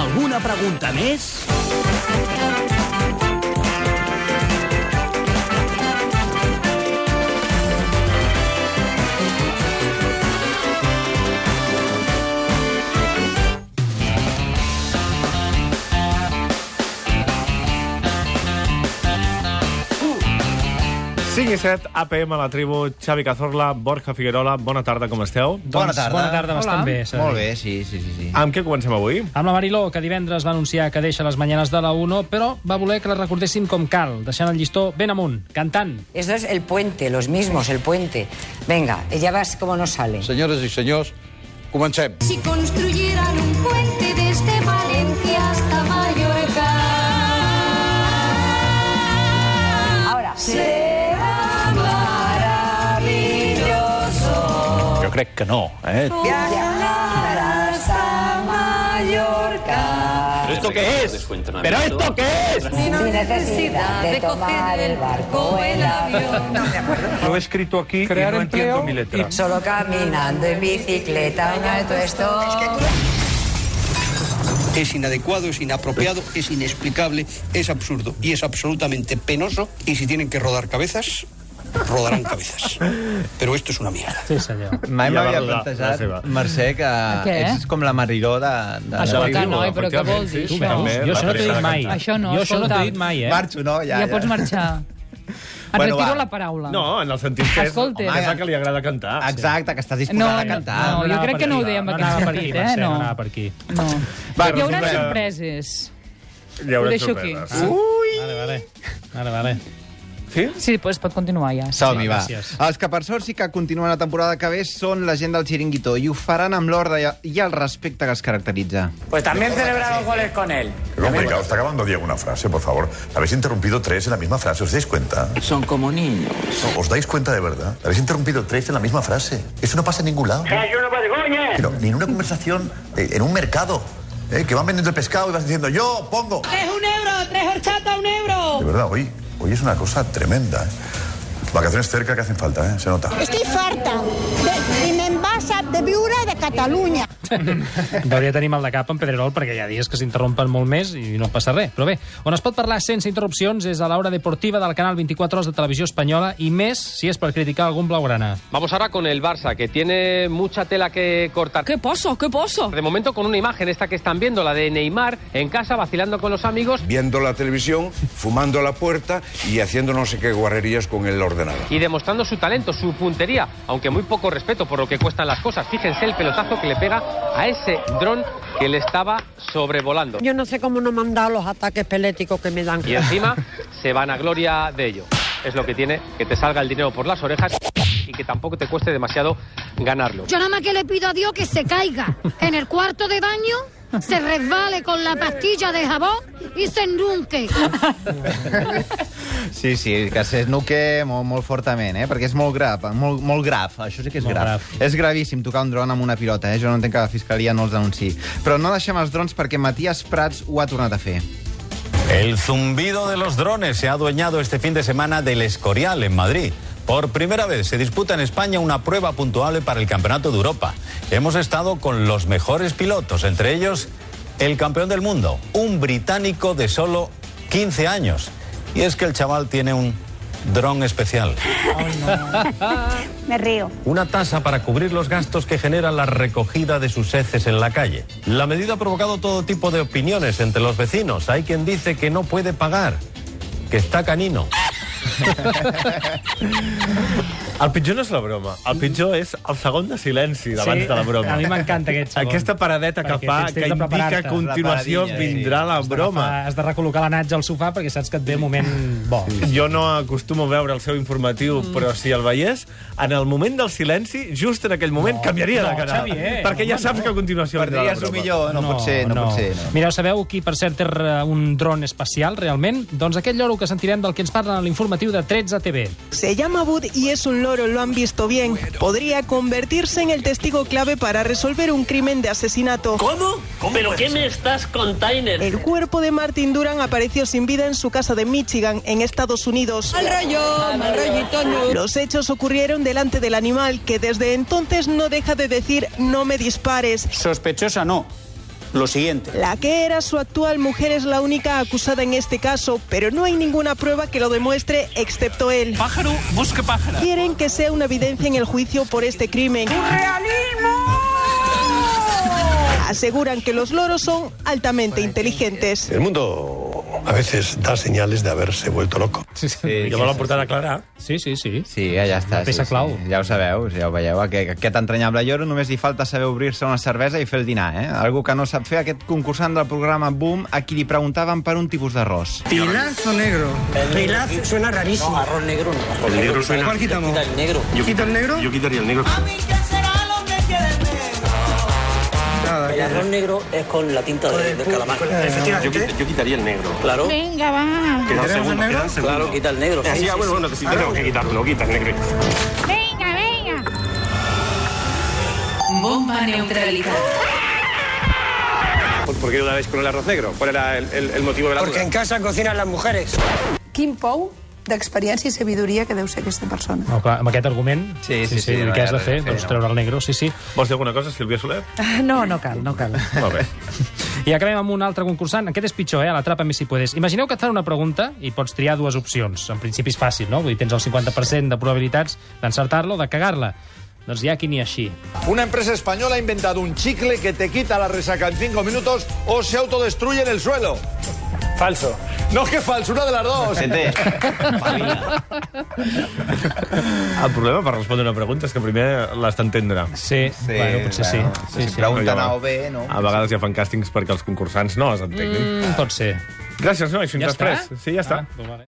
Alguna pregunta més? i 7, APM, la tribu, Xavi Cazorla, Borja Figuerola, bona tarda, com esteu? Bona tarda. Doncs Bona tarda, bastant Hola. bé. s'ha de Molt dir. bé, sí, Ah, sí, sí. sí. Amb què comencem avui? Amb la Mariló, que divendres va anunciar que deixa les mañanes de la 1, però va voler que la recordessin com cal, deixant el llistó ben amunt, cantant. Eso es el puente, los mismos, el puente. Venga, ya vas como no sale. Senyores i senyors, comencem. Si construyeran un puente desde Valencia hasta Mallorca. Ahora. Será maravilloso. Jo crec que no, eh? Viajar hasta Mallorca ¿Esto qué es? ¿Pero esto qué es? sin necesidad de tomar el barco o el avión. Lo he escrito aquí y no entiendo mi letra. Solo caminando en bicicleta en alto estoy. Es inadecuado, es inapropiado, es inexplicable, es absurdo y es absolutamente penoso. Y si tienen que rodar cabezas, rodarán cabezas. Pero esto es una mierda. Sí, senyor. Mai Ja va m'havia rodar, la plantejat, seva. Mercè, que Què? ets com la Mariló de... de Escolta, la tribu. no, noi, però què vol dir, efectivament, sí, això? jo sí, també, això no t'ho he dit la primera mai. cantant. Això no, jo això no t'ho escolta. he dit mai, eh? Marxo, no? Ja, Ja, ja, pots marxar. Et Bueno, bueno, retiro va. Ah, la paraula. No, en el sentit que és, Escolta. home, és la que li agrada cantar. Exacte, que estàs No, disposada a cantar. no, jo anava crec per que no ho aquí, deia amb no aquest anava per sentit, aquí, eh, Mercè, no. no anava per aquí. No. Va, Hi haurà resulta que sorpreses. Hi haurà Ho deixo sorpreses. Uh. aquí. Ah. Vale, vale. Vale, vale. Sí? Sí, pues pot continuar ja. Som-hi, va. gràcies. Els que per sort sí que continuen la temporada que ve són la gent del Chiringuito i ho faran amb l'ordre i- i el respecte que els caracteritza. Pues también celebrar los goles con él. complicado, está acabando Diego una frase, por favor. Habéis interrumpido tres en la misma frase, ¿os dais cuenta? Son como niños. ¿Os dais cuenta de verdad? Habéis interrumpido tres en la misma frase. Eso no pasa en ningún lado. Pero ni en una conversación, eh, en un mercado, eh, que van vendiendo el pescado y vas diciendo, yo pongo. Es un euro, tres horchata, un euro. De verdad, hoy, hoy es una cosa tremenda. eh. Vacaciones cerca que hacen falta, eh, se nota. Estic farta de, i me'n vas a de viure de Catalunya. Deuria tenir mal de cap en Pedrerol, perquè hi ha dies que s'interrompen molt més i no passa res. Però bé, on es pot parlar sense interrupcions és a l'hora deportiva del canal 24 Hores de Televisió Espanyola i més si és per criticar algun blaugrana. Vamos ahora con el Barça, que tiene mucha tela que cortar. Què poso, què poso? De momento con una imagen, esta que están viendo, la de Neymar, en casa, vacilando con los amigos. Viendo la televisión, fumando a la puerta y haciendo no sé qué guarrerías con el ordenador. y demostrando su talento, su puntería, aunque muy poco respeto por lo que cuestan las cosas. Fíjense el pelotazo que le pega a ese dron que le estaba sobrevolando. Yo no sé cómo no me han dado los ataques peléticos que me dan. Y encima se van a gloria de ello. Es lo que tiene que te salga el dinero por las orejas y que tampoco te cueste demasiado ganarlo. Yo nada más que le pido a Dios que se caiga en el cuarto de baño, se resbale con la pastilla de jabón y se enrunque. Sí, sí, que s'esnuque molt, molt fortament, eh? Perquè és molt graf, molt, molt graf. Això sí que és Molt graf. graf. És gravíssim tocar un dron amb una pilota, eh? Jo no entenc que la fiscalia no els denunci. Però no deixem els drons perquè Matías Prats ho ha tornat a fer. El zumbido de los drones se ha adueñado este fin de semana del Escorial en Madrid. Por primera vez se disputa en España una prueba puntuable para el Campeonato de Europa. Hemos estado con los mejores pilotos, entre ellos el campeón del mundo, un británico de solo 15 años. Y es que el chaval tiene un dron especial. Me río. Una tasa para cubrir los gastos que genera la recogida de sus heces en la calle. La medida ha provocado todo tipo de opiniones entre los vecinos. Hay quien dice que no puede pagar, que está canino. El pitjor no és la broma, el pitjor és el segon de silenci d'abans de la broma. Mm. a mi m'encanta aquest segon. Aquesta paradeta que Perquè fa, tens temps que de indica que a preparar-te. continuació La paradilla, sí. vindrà la broma. Fa- Has de recol·locar la natja al sofà perquè saps que et ve un moment bo. Jo no acostumo a veure el seu informatiu, mm. però si el veiés, en el moment del silenci, just en aquell moment, no, canviaria no, de canal. Xavier, perquè ja home, saps que a continuació vindrà la Perdries ho broma. millor, no, no pot ser, no, no pot ser. No. Mireu, sabeu qui, per cert, té eh, un dron espacial, realment? Doncs aquest lloro que sentirem del que ens parlen a l'informatiu informatiu de 13 TV. Se llama Bud y es un loro, lo han visto bien. Podría convertirse en el testigo clave para resolver un crimen de asesinato. ¿Cómo? ¿Pero qué me estás container? El cuerpo de Martin Duran apareció sin vida en su casa de Michigan, en Estados Unidos. Mal rollo, mal rollito, no. Los hechos ocurrieron delante del animal, que desde entonces no deja de decir no me dispares. Sospechosa no. Lo siguiente. La que era su actual mujer es la única acusada en este caso, pero no hay ninguna prueba que lo demuestre excepto él. Pájaro, busca pájaro. Quieren que sea una evidencia en el juicio por este crimen. Aseguran que los loros son altamente inteligentes. El mundo a veces da señales de haberse vuelto loco. Sí, sí. Sí, jo me l'han portat a Clara. Sí, sí, sí. Sí, ja, ja està. peça sí, clau. Sí. Ja ho sabeu, ja ho veieu. Aquest, aquest entranyable lloro només hi falta saber obrir-se una cervesa i fer el dinar, eh? Algú que no sap fer aquest concursant del programa Boom a qui li preguntaven per un tipus d'arròs. ¿Pilazo negro? Pilazo suena rarísimo. No, arroz negro no. El negro suena. ¿Cuál quitamos? Quita el negro. ¿Quita el negro? Yo quitaría el negro. El arroz negro es con la tinta de, del calamar. Yo, quit- yo quitaría el negro. Claro. Venga, va. Quedan segundos, quedan segundos. Claro, quita el negro. Así, ah, bueno, bueno, que si tengo que quitar uno, quita el negro. Venga, venga. Bomba neutralizada. ¿Por, por qué dudabais con el arroz negro? ¿Cuál era el, el- el motivo de la duda? casa cocinan las mujeres. Quin pou d'experiència i sabidoria que deu ser aquesta persona. No, clar, amb aquest argument, sí, sí, sí, sí, no què has hi de ha res fer? a fer, doncs no. treure el negro, sí, sí. Vols dir alguna cosa, Sílvia Soler? No, no cal, no cal. Molt bé. I acabem amb un altre concursant. Aquest és pitjor, eh? A la trapa més si puedes. Imagineu que et fan una pregunta i pots triar dues opcions. En principi és fàcil, no? Vull dir, tens el 50% de probabilitats d'encertar-la o de cagar-la. Doncs hi ha qui ni així. Una empresa española ha inventado un chicle que te quita la resaca en 5 minutos o se autodestruye en el suelo. Falso. No, que falso, una de las dos. Gente. El problema per respondre una pregunta és que primer l'has d'entendre. Sí, bueno, potser sí. Sí, sí. Pregunten A o B, no? A vegades ja fan càstings perquè els concursants no es entenguin. Mm, pot ser. Gràcies, nois. Fins Ja després. està? Sí, ja està. Ah, doncs vale.